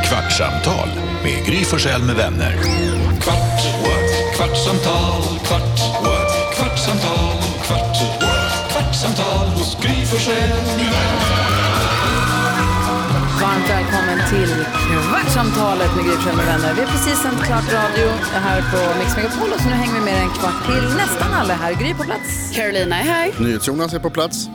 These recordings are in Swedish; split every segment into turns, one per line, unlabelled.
Kvartsamtal med Gry Forssell med vänner. Kvart, what? kvartsamtal, kvart, what? kvartsamtal, kvart, what? kvartsamtal hos Gry Forssell med vänner.
Varmt välkommen till Kvartsamtalet med Gry Forssell med vänner. Vi har precis sänt klart radio här på Mix Megapol och så nu hänger vi med en kvart till. Nästan alla är här. Gry på plats.
Carolina är här.
NyhetsJonas är på plats.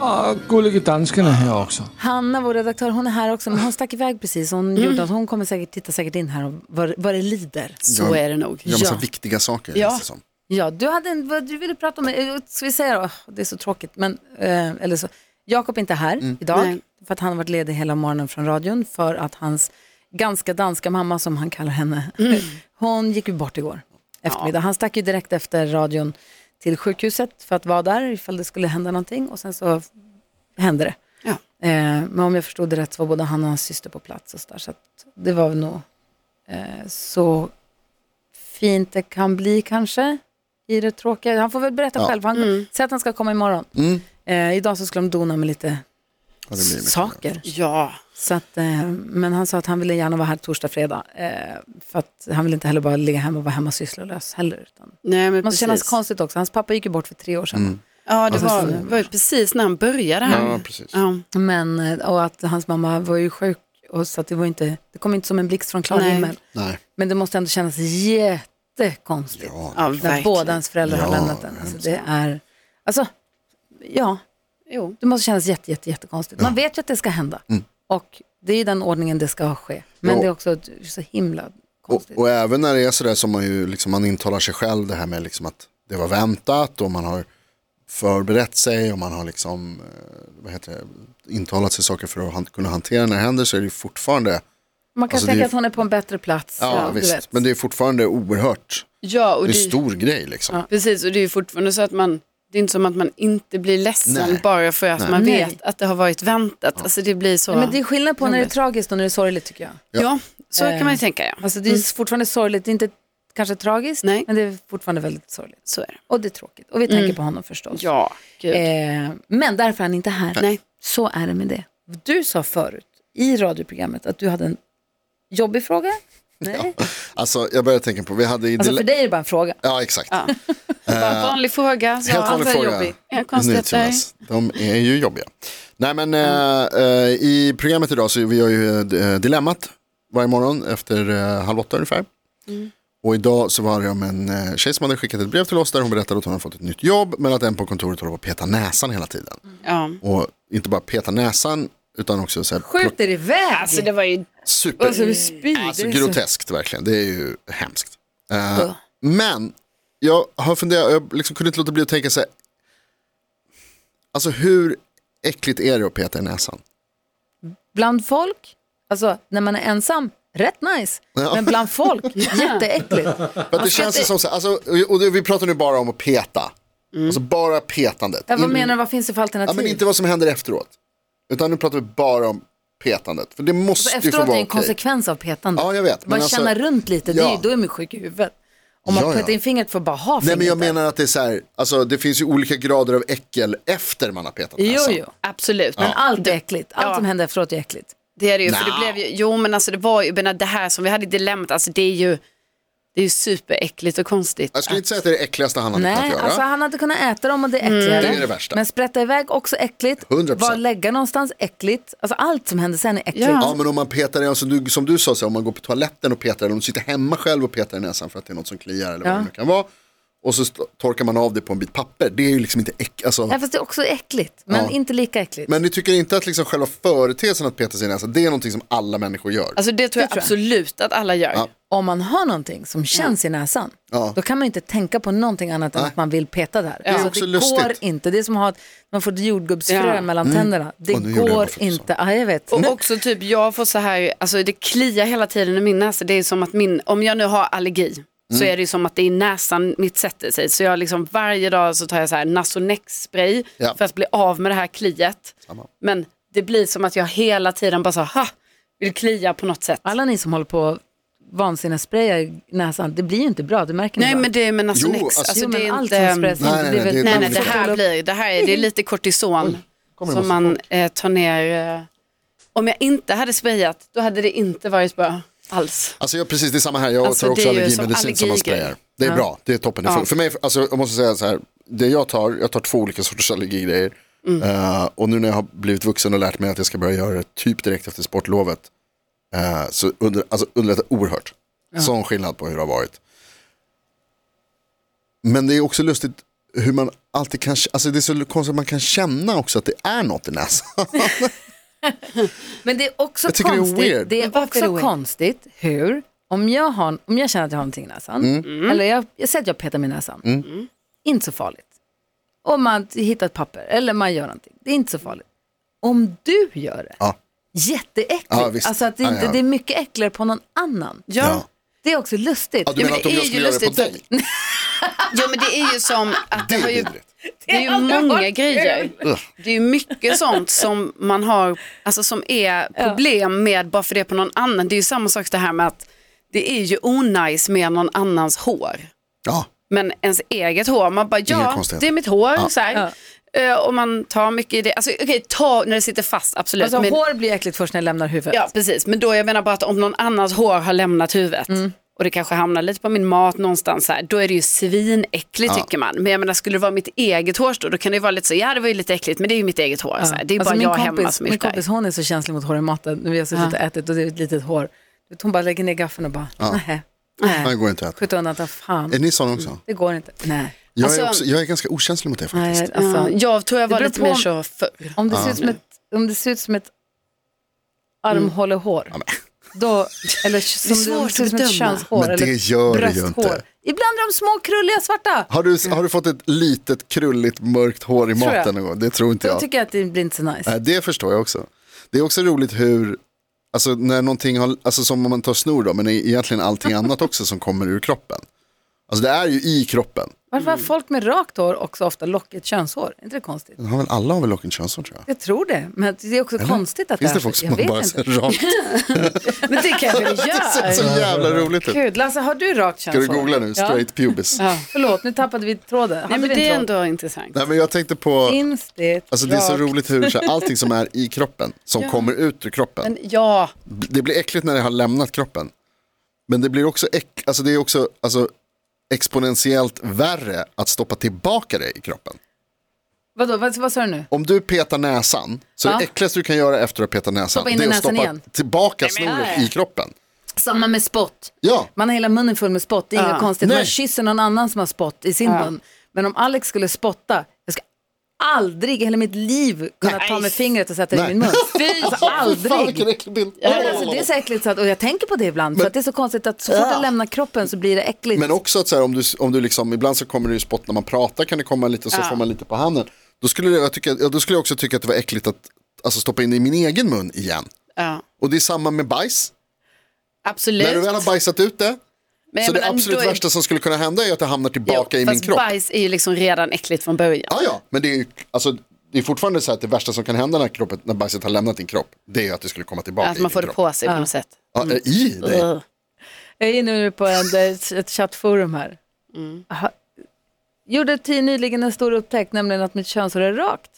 Och gullige dansken är här också.
Hanna, vår redaktör, hon är här också, men hon stack iväg precis. Hon,
Mm.
gjorde att hon kommer säkert, titta säkert in här och vad, vad det lider.
Så är det nog.
Gör massa
Ja.
viktiga saker.
Ja.
känns det som.
Ja, du hade en, vad du ville prata om, eh, ska vi säga då, det är så tråkigt, men, eh, eller så, Jakob är inte här idag,
Nej.
för att han har varit ledig hela morgonen från radion, för att hans ganska danska mamma, som han kallar henne, hon gick ju bort igår eftermiddag. Han stack ju direkt efter radion till sjukhuset för att vara där ifall det skulle hända någonting och sen så hände det.
Ja.
Eh, men om jag förstod det rätt så var både han och hans syster på plats och så där, så att det var nog eh, så fint det kan bli kanske i det tråkiga. Han får väl berätta själv. Han säger att han ska komma imorgon. Eh, idag så skulle de dona med lite
Mm. Ja, det blir mycket.
saker.
Ja,
Så att, eh, men han sa att han ville gärna vara här torsdag, fredag. Eh, för att han vill inte heller bara ligga hemma och vara hemma sysslolös heller. Utan
nej men
det måste kännas
precis.
konstigt också. Hans pappa gick ju bort för tre år sedan.
Mm.
Ja, det var, var ju precis när han började här.
Ja, precis.
Ja.
Men, eh, och att hans mamma var ju sjuk. Och så att det, var inte, det kom inte som en blixt från klar
Nej.
himmel.
Nej.
Men det måste ändå kännas jättekonstigt.
Ja,
När
verkligen.
båda ens föräldrar har
Ja,
lämnat den. Alltså, det är, alltså, ja,
Jo.
det måste kännas jätte, jätte, jättekonstigt. Man vet ju att det ska hända. Och det är ju den ordningen det ska ske. Men
Mm. Ja.
det är också ett- så himla
Och,
konstigt.
och även när det är sådär som man ju liksom, man intalar sig själv det här med liksom att det var väntat och man har förberett sig och man har liksom, eh, vad heter det, intalat sig saker för att han, kunna hantera när det händer så är det ju fortfarande,
Man kan
alltså,
tänka
det är-
att hon är på en bättre plats.
ja,
du
visst,
vet.
men det är fortfarande oerhört,
Ja, och
det är
det,
stor grej liksom.
precis. Och det är ju fortfarande så att man, det är inte som att man inte blir ledsen
Nej.
bara för att man
Nej.
vet att det har varit väntat. Alltså det blir så.
Nej, men det är skillnad på när det är
Jobbigt.
tragiskt och när det är sorgligt tycker jag.
ja. så kan man ju tänka ja.
Alltså, det är fortfarande sorgligt, det är inte kanske tragiskt,
Mm. Nej.
men det är fortfarande väldigt sorgligt.
Så är det.
Och det är tråkigt. Och vi tänker
Mm.
på honom förstås.
Ja, gud.
Eh, men därför är han inte här.
Nej.
Så är det med det. Du sa förut i radioprogrammet att du hade en jobbig fråga. Nej.
Alltså jag börjar tänka på, vi hade i
Alltså
dile-
för dig är det bara en fråga.
Ja exakt.
Bara en vanlig fråga. Så
Eh, Helt vanlig
varför är det
fråga.
jobbig? Ja, konstigt där.
NyhetsJonas. De är ju jobbiga. Nej men eh, eh, i programmet idag så vi gör ju eh, Dilemmat varje morgon efter eh, halv åtta ungefär. Och idag så var det om en eh, tjej som hade skickat ett brev till oss där hon berättade att hon hade fått ett nytt jobb men att en på kontoret håller på att peta näsan hela tiden.
Ja.
Och inte bara peta näsan utan också så här
Skjut er iväg!
Alltså det var ju
super...
spyr.
Alltså groteskt verkligen, det är ju hemskt. Eh, Men jag har funderat, jag liksom kunde inte låta bli att tänka så här. Alltså hur äckligt är det att peta i näsan?
Bland folk, alltså när man är ensam, rätt nice.
Ja.
Men bland folk, jätteäckligt.
För att det känns ju som så här, alltså, och det, vi pratar nu bara om att peta. Alltså bara petandet.
Mm. Ja, vad
In-
menar du, vad finns det för
Mm. ja,
alternativ?
men inte vad som händer efteråt. Utan nu pratar vi bara om petandet. För det måste
För
ju få
Alltså, efteråt är
vara
det en
okej.
konsekvens av petande.
Ja, jag vet, men
Man
alltså-
känner runt lite, det är ju,
Ja.
då är man sjuk i huvudet. Om man
Ja, ja.
petar in fingret får bara ha
Nej
fingret
men jag
där.
menar att det är så här, alltså det finns ju olika grader av äckel efter man har petat
Jo,
näsan.
jo.
absolut.
Men allt är äckligt. Allt
Ja.
som händer efteråt är äckligt.
Det är det ju, för
Nja.
det blev ju, jo men alltså det var ju, men det här som vi hade i dilemmat, alltså det är ju, det är ju superäckligt och konstigt.
Jag skulle inte säga att det är det äckligaste han hade kunnat
Nej,
göra. Mm.
alltså han hade kunnat äta dem och det är äckligare.
Det är det värsta.
Men sprätta iväg också äckligt.
100%.
Var lägga någonstans äckligt. Alltså allt som händer sen är äckligt.
Ja.
Ja men om man petar i, alltså, du, som du sa, så här, om man går på toaletten och petar eller om du sitter hemma själv och petar i näsan för att det är något som kliar eller vad det nu kan vara. Och så st- torkar man av det på en bit papper, det är ju liksom inte äck, alltså.
Nej, fast det är också äckligt, men
Ja.
inte lika äckligt.
Men ni tycker inte att liksom själva företeelsen att peta sig i näsan, det är någonting som alla människor gör?
Alltså det tror jag,
Det tror jag.
absolut att alla gör.
Ja.
Om man har någonting som känns i näsan,
Ja.
då kan man ju inte tänka på någonting annat än
Nej.
att man vill peta där.
är
Alltså,
också
det går
lustigt. Mm.
inte. Det är som att ha ett, man får ett jordgubbsfrö
Ja.
mellan tänderna. Det
Och nu gjorde jag bara
går
för att du
inte. Ja, jag vet.
Och också typ jag får så här, alltså det kliar hela tiden i min näsa, det är som att min, om jag nu har allergi så
Mm.
är det ju som att det är näsan mitt sätter sig. Så jag liksom varje dag så tar jag så här Nasonex-spray
Ja.
för att bli av med det här kliet. Men det blir som att jag hela tiden bara så här, ha, vill klia på något sätt.
Alla ni som håller på och vansinnessprayar i näsan, det blir ju inte bra, det märker ni
Nej
va?
men det är med Nasonex,
alltså-
alltså,
jo, men
det är
allt
inte...
som sprayas in,
Nej, nej,
det är
nej,
väl
det-
Nej, nej, det
Olika
här
Kolla upp.
blir, det här är, det är lite kortison
kommer det
som
massa
man eh, tar ner eh, Om jag inte hade sprayat, då hade det inte varit bra alls.
Alltså jag, precis, det är samma här. Jag
Alltså,
tar
det
också
är ju
allergimedicin
som
som man
allergigrej.
sprayar. Det är bra, det är toppen. Det är
Ja.
för, för mig, alltså, jag måste säga så här, det jag tar, jag tar två olika sorters allergigrejer.
Mm.
Eh, och nu när jag har blivit vuxen och lärt mig att jag ska börja göra det typ direkt efter sportlovet, eh, så under, alltså, underlättar oerhört. Sån skillnad på hur det har varit. Men det är också lustigt hur man alltid kan, alltså det är så konstigt att man kan känna också att det är något i näsan.
Men det är också
Jag tycker det är
konstigt,
weird.
det
Men
är
varför är det
också
weird?
konstigt hur, om jag, har, om jag känner att jag har någonting i näsan,
Mm.
Mm.
eller jag, jag säger att jag petar mig i näsan, inte så farligt. Om man hittar ett papper eller man gör någonting, det är inte så farligt. Om du gör det,
Ja.
jätteäckligt.
Ja, visst.
alltså att det, inte,
Ja, ja.
det är mycket äckligare på någon annan.
Ja.
Det är också lustigt.
Ja, du menar
men
att
det
om
är
jag
ju
skulle göra det på
lustigt för
dig?
Jo men det är ju som att det,
Det är
har ju,
vidrigt.
det är ju många grejer. Det är ju mycket sånt som man har, alltså som är problem med bara för det på någon annan. Det är ju samma sak det här med att det är ju onajs med någon annans hår.
Ja.
Men ens eget hår, man bara
Inga
ja,
konstigheter.
det är mitt hår. Så här. Eh, och man tar mycket i det. Alltså okej, ta när det sitter fast, absolut.
Alltså
men,
hår blir äckligt först när jag lämnar huvudet.
Ja, precis. Men då jag menar bara att om någon annans hår har lämnat huvudet
Mm.
och det kanske hamnar lite på min mat någonstans här, då är det ju svinäckligt tycker man. Men jag menar skulle det vara mitt eget hårstrå, då kan det ju vara lite så, ja det var ju lite äckligt, men det är ju mitt eget hår. Så här. Det är ju
Alltså,
bara
min
jag
kompis,
hemma som är
Min
stark.
kompis hon är så känslig mot hår i maten. Nu har jag suttit och ätit och det är ett litet hår. Du vet, Hon bara lägger ner gaffeln och bara, nej,
Nej, det
nej.
går inte att äta.
Skjuter undan, ta fan.
Är ni sådana också?
Det går inte. Nej.
Jag, är
Alltså-
också, jag är ganska okänslig mot det faktiskt.
nej alltså,
Ja, jag tror jag var
beror
lite
på
mer
om-
så förr.
om, det ser ut som ett, om det ser ut som ett armhålehår. Då, eller som det, om
svårt
det ser ut
att
som ett
bedöma.
könshår.
Men det
eller
gör det ju
brösthår.
inte.
Ibland är de små krulliga svarta.
Har du, har du fått ett litet krulligt mörkt hår i
Tror jag.
maten någon gång? Det tror inte
Då
jag.
tycker jag att det blir inte så nice.
Nej, det förstår jag också. Det är också roligt hur, alltså när någonting har, alltså som om man tar snor då, men egentligen allting annat också som kommer ur kroppen. Alltså det är ju i kroppen.
Varför har folk med rakt hår också ofta lockigt könshår? Är inte det konstigt?
Den har väl alla har väl lockigt könshår tror jag.
Jag tror det, men det är också konstigt att
Finns det
är så.
folk som
Jag
har
vet
bara
inte.
så rakt?
Men det kanske det
Det ser så
gör.
jävla roligt ut.
Gud, Lasse, har du rakt
Ska
könshår?
du googla nu? Straight pubis.
Ja. Förlåt, nu tappade vi tråden. Hade
Nej men
vi en
det är
tråd?
ändå intressant.
Nej men jag tänkte på,
Finns det
alltså det är så
rakt-
roligt hur så här, allting som är i kroppen, som kommer ut ur kroppen.
Men ja,
det blir äckligt när det har lämnat kroppen. Men det blir också, äck, alltså det är också alltså, exponentiellt värre att stoppa tillbaka det i kroppen.
Vadå, vad, vad sa du nu?
Om du petar näsan, så
Ja.
det äckligaste du kan göra efter att peta näsan,
Stoppa in
det är
i
att
näsan
stoppa
igen.
tillbaka snoret
nej.
i kroppen.
Samma med spott.
Ja,
Man har hela munnen full med spott, det är inget konstigt. Man
Nej.
kysser någon annan som har spott i sin mun. Men om Alex skulle spotta, jag ska aldrig i hela mitt liv kunna ta med fingret och sätta det i
Nej.
min mun.
fy
Alltså,
fan
aldrig.
vilken äcklig bild.
Men alltså, det är så äckligt så att, och jag tänker på det ibland, för att det är så konstigt att så fort det lämnar kroppen så blir det äckligt.
Men också att så här, om du, om du liksom, ibland så kommer det ju spott när man pratar kan det komma lite så får man lite på handen. Då skulle, jag tycka, ja, då skulle jag också tycka att det var äckligt att alltså, stoppa in det i min egen mun igen.
Ja,
Och det är samma med bajs.
absolut.
När du väl har bajsat ut det,
Men jag
Så det
menar,
absolut
då är-
värsta som skulle kunna hända är att det hamnar
Jo,
tillbaka i min
fast
kropp.
bajs är ju liksom redan äckligt från början.
Ja, ja, men det är, ju- alltså, det är fortfarande så att det värsta som kan hända när, kroppen, när bajset har lämnat din kropp, det är att det skulle komma tillbaka
Att
i
man
din
får det
kropp.
på sig på något sätt.
Ja, eh, I dig.
Ugh.
Jag är inne nu på en, ett, ett chattforum här. Mm. Aha. Gjorde ty nyligen en stor upptäckt, nämligen att mitt könshår är rakt.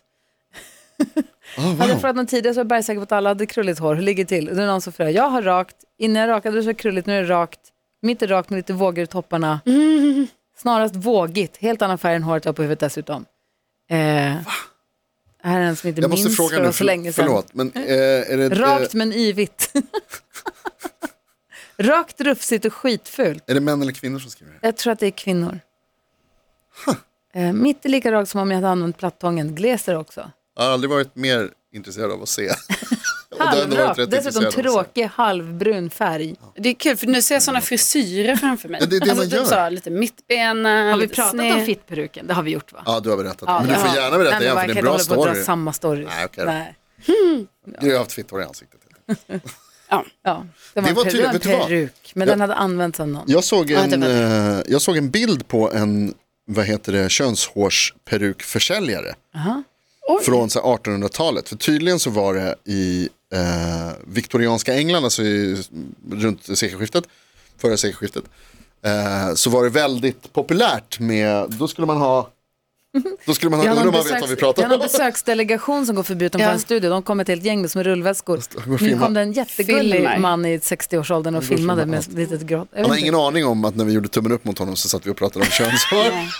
Hade jag frågat någon tidigare så var jag bergsäker på att alla hade krulligt hår. Hur ligger det till? Och då är det någon som frågar, jag har rakt, innan jag rakade det så var det krulligt, nu är det rakt. Mitt är rakt med lite vågor i topparna. Snarast vågigt, helt annan färg än håret jag har på huvudet dessutom. Eh, här är en som inte
Jag måste
minns
fråga
för
nu,
oss så länge
för,
sedan.
förlåt, men eh, är det,
Rakt
eh,
men yvigt. rakt, rufsigt och skitfult.
är det män eller kvinnor som skriver det?
Jag tror att det är kvinnor. Eh, mitt är lika rakt som om jag hade använt plattången. Gleser också.
Jag har aldrig varit mer intresserad av att se. Och då har jag ändå varit
Halvrakt.
rätt
Dessutom
intresserad av att se.
tråkig halvbrun färg.
Det är kul för nu ser jag sådana frisyrer framför mig.
Ja, det är det man
alltså,
gör.
Typ så, här, lite mittbena,
Har vi
lite
pratat
sned.
om fittperuken? Det har vi gjort va?
Ja, du har berättat. men du får gärna berätta
Nej, men bara,
igen, för
jag
det är en
kan
bra
inte hålla på att
story.
dra samma story.
Nej, okej då.
Nej.
Du har haft fitt hår i ansiktet.
Ja.
Ja, det var,
Det
en,
var
peru-
tydligt,
en
vet du vad?
peruk, men
Ja.
den hade använts av någon.
Jag såg,
Ja, det
en,
var
eh, jag såg en bild på en vad heter det, könshårsperukförsäljare. Från så här 1800-talet. För tydligen så var det i eh, viktorianska England, alltså i, runt sekelskiftet, förra sekelskiftet. Eh, så var det väldigt populärt med, då skulle man ha Då skulle man
Vi
ha
har
undrat
någon
om man vet vad vi
besöks- vi
pratar
har någon
om.
besöksdelegation som går förbi utanför
Ja.
en studio. De kommer ett helt gäng som är rullväskor.
går och
Nu
filmar.
kom det en jättegullig
Filmar.
man i 60-årsåldern och filmade med ett litet grått. Jag
Han har
vet inte.
ingen aning om att när vi gjorde tummen upp mot honom så satt vi och pratade om könshår.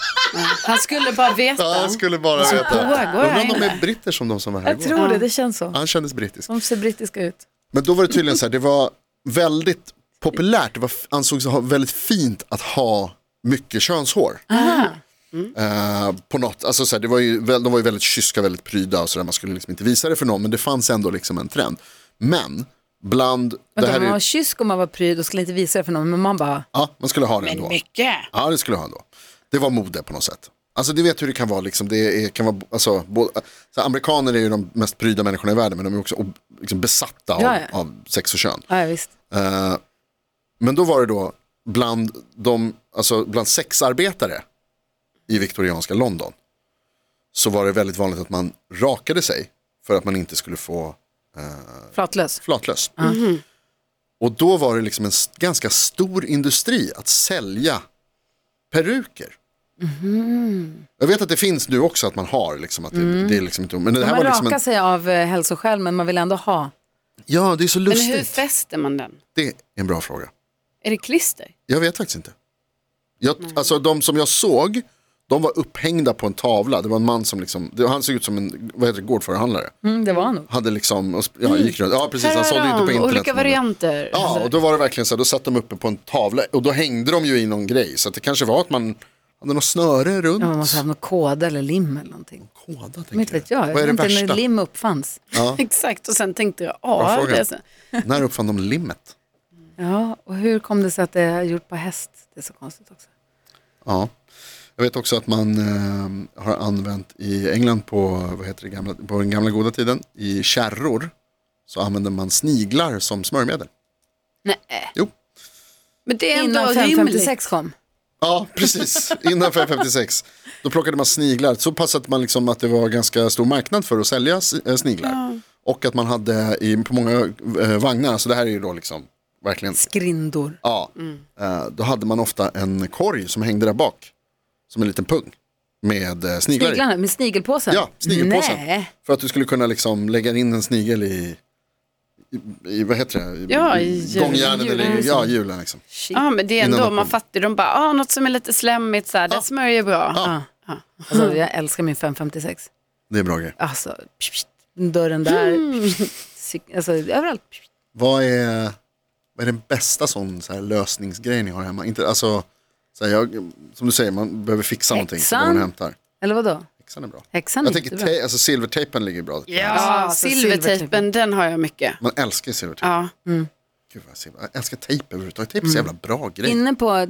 Han skulle bara veta.
Ja, han skulle bara
Alltså,
veta.
pågår
Undrar om
här
de är britter som de som var här
Jag
igår.
tror det, det känns så.
Han kändes brittisk.
De ser brittiska ut.
Men då var det tydligen så här, det var väldigt populärt, det var, ansågs ha väldigt fint att ha mycket könshår.
Mm.
Eh, på något, alltså så här, det var ju, väl- de var ju väldigt kyska, väldigt pryda och sådär, man skulle liksom inte visa det för någon, men det fanns ändå liksom en trend. Men, bland, det
Vänta,
här
man var
är,
kysk och man var pryd och skulle inte visa det för någon, men man bara,
ja, man skulle ha det ändå.
Mycket.
Ja, det skulle jag ha ändå. Det var mode på något sätt. Alltså du vet hur det kan vara, liksom, det är, kan vara alltså, både, så amerikaner är ju de mest pryda människorna i världen men de är också ob, liksom, besatta av,
Ja, ja.
av sex och kön.
ja visst.
Eh, men då var det då bland, de, alltså, bland sexarbetare i viktorianska London så var det väldigt vanligt att man rakade sig för att man inte skulle få
Flatlös.
flatlös.
Mm-hmm.
Och då var det liksom en s- ganska stor industri att sälja peruker.
Mm-hmm.
Jag vet att det finns nu också att man har liksom att det,
Mm.
det är liksom inte, men det här
Man
var
rakar
liksom en,
sig av eh, hälsoskäl, men man vill ändå ha.
ja det är så
Men hur
lustigt.
fäster man den?
Det är en bra fråga.
Är det klister?
Jag vet faktiskt inte. Jag, alltså de som jag såg, de var upphängda på en tavla. Det var en man som liksom, det, han såg ut som en, vad heter det, gårdförhandlare.
Mm, det var han nog.
Hade liksom, och sp- ja gick runt, ja precis han sålde ju inte på internet.
Olika varianter.
Ja, och då var det verkligen så här, då satt de uppe på en tavla och då hängde de ju i någon grej. Så att det kanske var att man hade något snöre runt.
Ja, man måste ha haft någon kod eller lim eller någonting.
Kåda, tänker
Men inte vet jag, jag
Vad är
vet
det
inte
värsta?
när lim uppfanns.
Exakt, och sen tänkte jag,
Bra
ja,
fråga.
det är så.
När uppfann de limmet?
Ja, och hur kom det sig att det är gjort på häst? Det är så konstigt också.
Ja. Jag vet också att man eh, har använt i England på, vad heter det, gamla, på den gamla goda tiden, i kärror så använde man sniglar som smörjmedel.
Nej.
Jo.
Men det är ändå
Innan
rimligt.
556 kom.
Ja, precis. Innan 556. Då plockade man sniglar. Så pass att man liksom att det var ganska stor marknad för att sälja s- eh, sniglar. Och att man hade i, på många eh, vagnar, så det här är ju då liksom verkligen,
Skrindor.
ja. Eh, då hade man ofta en korg som hängde där bak. Som en liten pung. Med eh, sniglar i.
Sniglarna med snigelpåsen?
Ja, snigelpåsen.
Nej.
För att du skulle kunna liksom lägga in en snigel i, i, i vad heter det? I,
Ja, i hjulen.
gångjärnen eller i, ja, i hjulen. Liksom.
typ. Ah.
Ja, men det är
Innan
ändå,
de
man
kom.
fattar, de bara, ah, något som är lite slemmigt, så här, det smörjer bra.
Ja. Alltså, jag älskar min 556.
Det är bra grej.
Alltså, psh, psh, dörren där, psh, psh, cyk- alltså, överallt. psh.
Vad är, vad är den bästa sån så här lösningsgrej ni har hemma? Inte, alltså, så här, jag, som du säger, man behöver fixa någonting. Så går man och
Häxan.
hämtar.
Eller vadå?
Häxan är bra.
Häxan är
jag tänker
jättebra.
te- alltså, silvertejpen ligger bra.
Ja,
alltså, silvertejpen.
silvertejpen, den har jag mycket.
Man älskar silvertejp.
Ja.
mm.
Gud, vad jag, silver- jag älskar tejp överhuvudtaget. Tejp är så jävla bra grej.
Inne på eh,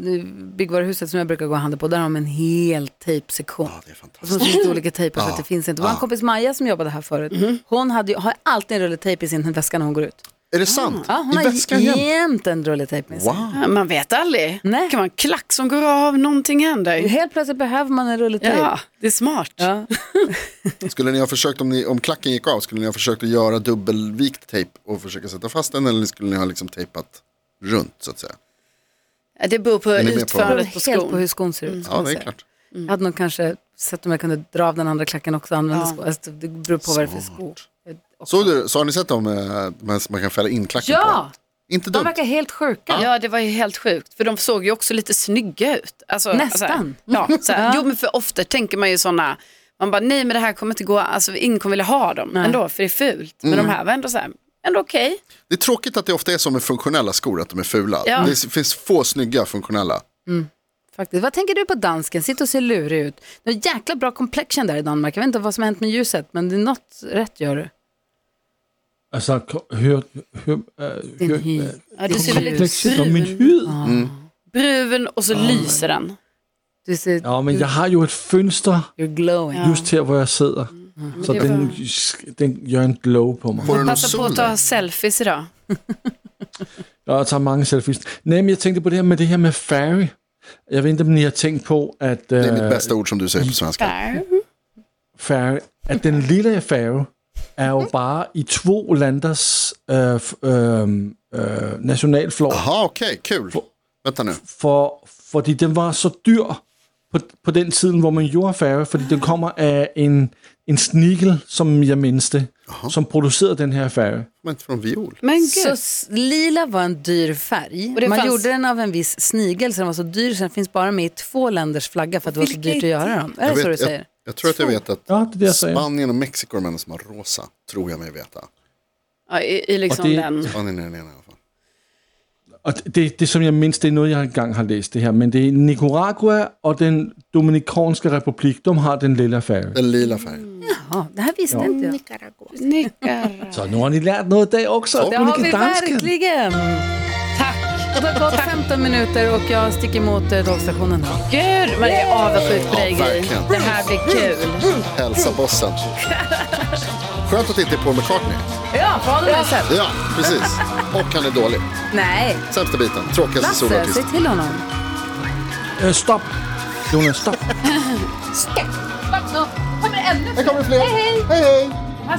byggvaruhuset som jag brukar gå och handla på, där har de en hel tejpsektion.
Ja, det är
Och
fantastiskt.
så finns det olika tejper för att det finns inte. Det var en kompis Maja som jobbade här förut.
Mhm.
Hon hade, ju- har alltid en rulle tejp i sin väska när hon går ut.
Är det sant?
Ja, Ah, hon
I väskan
har
jämt?
jämt en rulle tejp med sig.
Wow.
Ja, Man vet aldrig.
Nej.
Det kan vara en klack som går av, någonting händer.
Helt plötsligt behöver man en rulle tejp.
Ja, det är smart.
Ja.
Skulle ni ha försökt, om, ni, om klacken gick av, skulle ni ha försökt att göra dubbelvikt tejp och försöka sätta fast den eller skulle ni ha liksom tejpat runt så att säga?
Det beror på
ni med på-
Det beror
utförandet på
helt på
skon.
hur skon ser ut. ska
Mm. Ja,
man
det är
säga.
klart.
Jag hade nog kanske sett om jag kunde dra av den andra klacken också och använda
Ja.
skor. Alltså, det beror på vad det är för skor.
Så, du, så har ni sett dem eh, man, man kan fälla in klacken
Ja,
på? Inte
de
dumt.
verkar helt sjuka.
Ja, det var ju helt sjukt. För de såg ju också lite snygga ut. Alltså,
Nästan.
Så här, ja, så här. Jo, men för ofta tänker man ju sådana, man bara nej men det här kommer inte gå, alltså ingen kommer vilja ha dem ändå för det är fult. Men
Mm.
de här var ändå så här, ändå okej.
Det är tråkigt att det ofta är som med funktionella skor, att de är fula.
Ja.
Det finns få snygga funktionella.
Faktiskt. Vad tänker du på dansken? Sitter och ser lurig ut. Du har jäkla bra complexion där i Danmark. Jag vet inte vad som har hänt med ljuset, men det är något rätt gör du.
Altså, ko- hør, hør, øh,
Din
hør,
hy.
øh,
Ja, du ser väldigt
komplekset om min
brun,
hud.
Mm.
brun och så lyser den.
Du ser,
Ja, men jeg har jo et fønster
you're glowing.
Ja. Mm.
just her, hvor jeg sidder. Så
det er
den, den gør en glow på mig.
Får du någon
Passa på
sol
att
där?
ta selfies idag.
Og jeg tager mange selfies. Nej, men jeg tænkte på det her med det her med fairy. Jeg ved ikke, om I har tænkt på, at...
Det är mitt
øh,
bästa ord som du säger på svenska.
Där.
færge, at den lille færge er jo bare i to landers øh, f- øhm, øh, nationalflor,
Jaha, okej, kul. Vänta nu.
for, fordi den var så dyr, på, på den tiden, hvor man gjorde færge, fordi den kommer af en, en snikel, som jeg mindes det, som producerede den her færge.
Men från viol.
Men
Så
gud.
s- lila var en dyr färg.
Och det
Man
fanns-
gjorde den av en viss snigel så den var så dyr så den finns bara med i två länders flagga för att det var så dyrt att göra dem. Är det så du
jag,
säger?
jag tror att jag vet att
Ja, det är det jag säger.
Spanien och Mexiko är de enda som har rosa, tror jag mig veta.
Ja, i, i liksom
Och det-
den.
Spanien är den ena i alla fall.
Og det, det, som jeg mindst, det er noget, jeg engang har læst det her, men det er Nicaragua og den Dominikanske republik, de har den lille færge.
Den lila färgen.
Ja, det här visste inte jag.
Nicaragua.
Nickar.
Så nu har ni lært noget i dag også.
Det har vi
Dansken.
verkligen.
Tack.
Det har gått 15 minuter och jag sticker mot eh, tågstationen. här.
Gud, man är avundsjuk på dig, Gry.
Ja, verkligen.
Det här blir kul.
Hälsa bossen. Skönt att det inte är Paul McCartney.
Ja, på honom ja.
Ja, precis. Och han är dålig.
Nej,
Sämsta biten. Tråkigaste
Lasse,
solartist.
säg till honom.
Øh, stop. Jonas, stop.
Här kommer fler. Hej, hej. hej.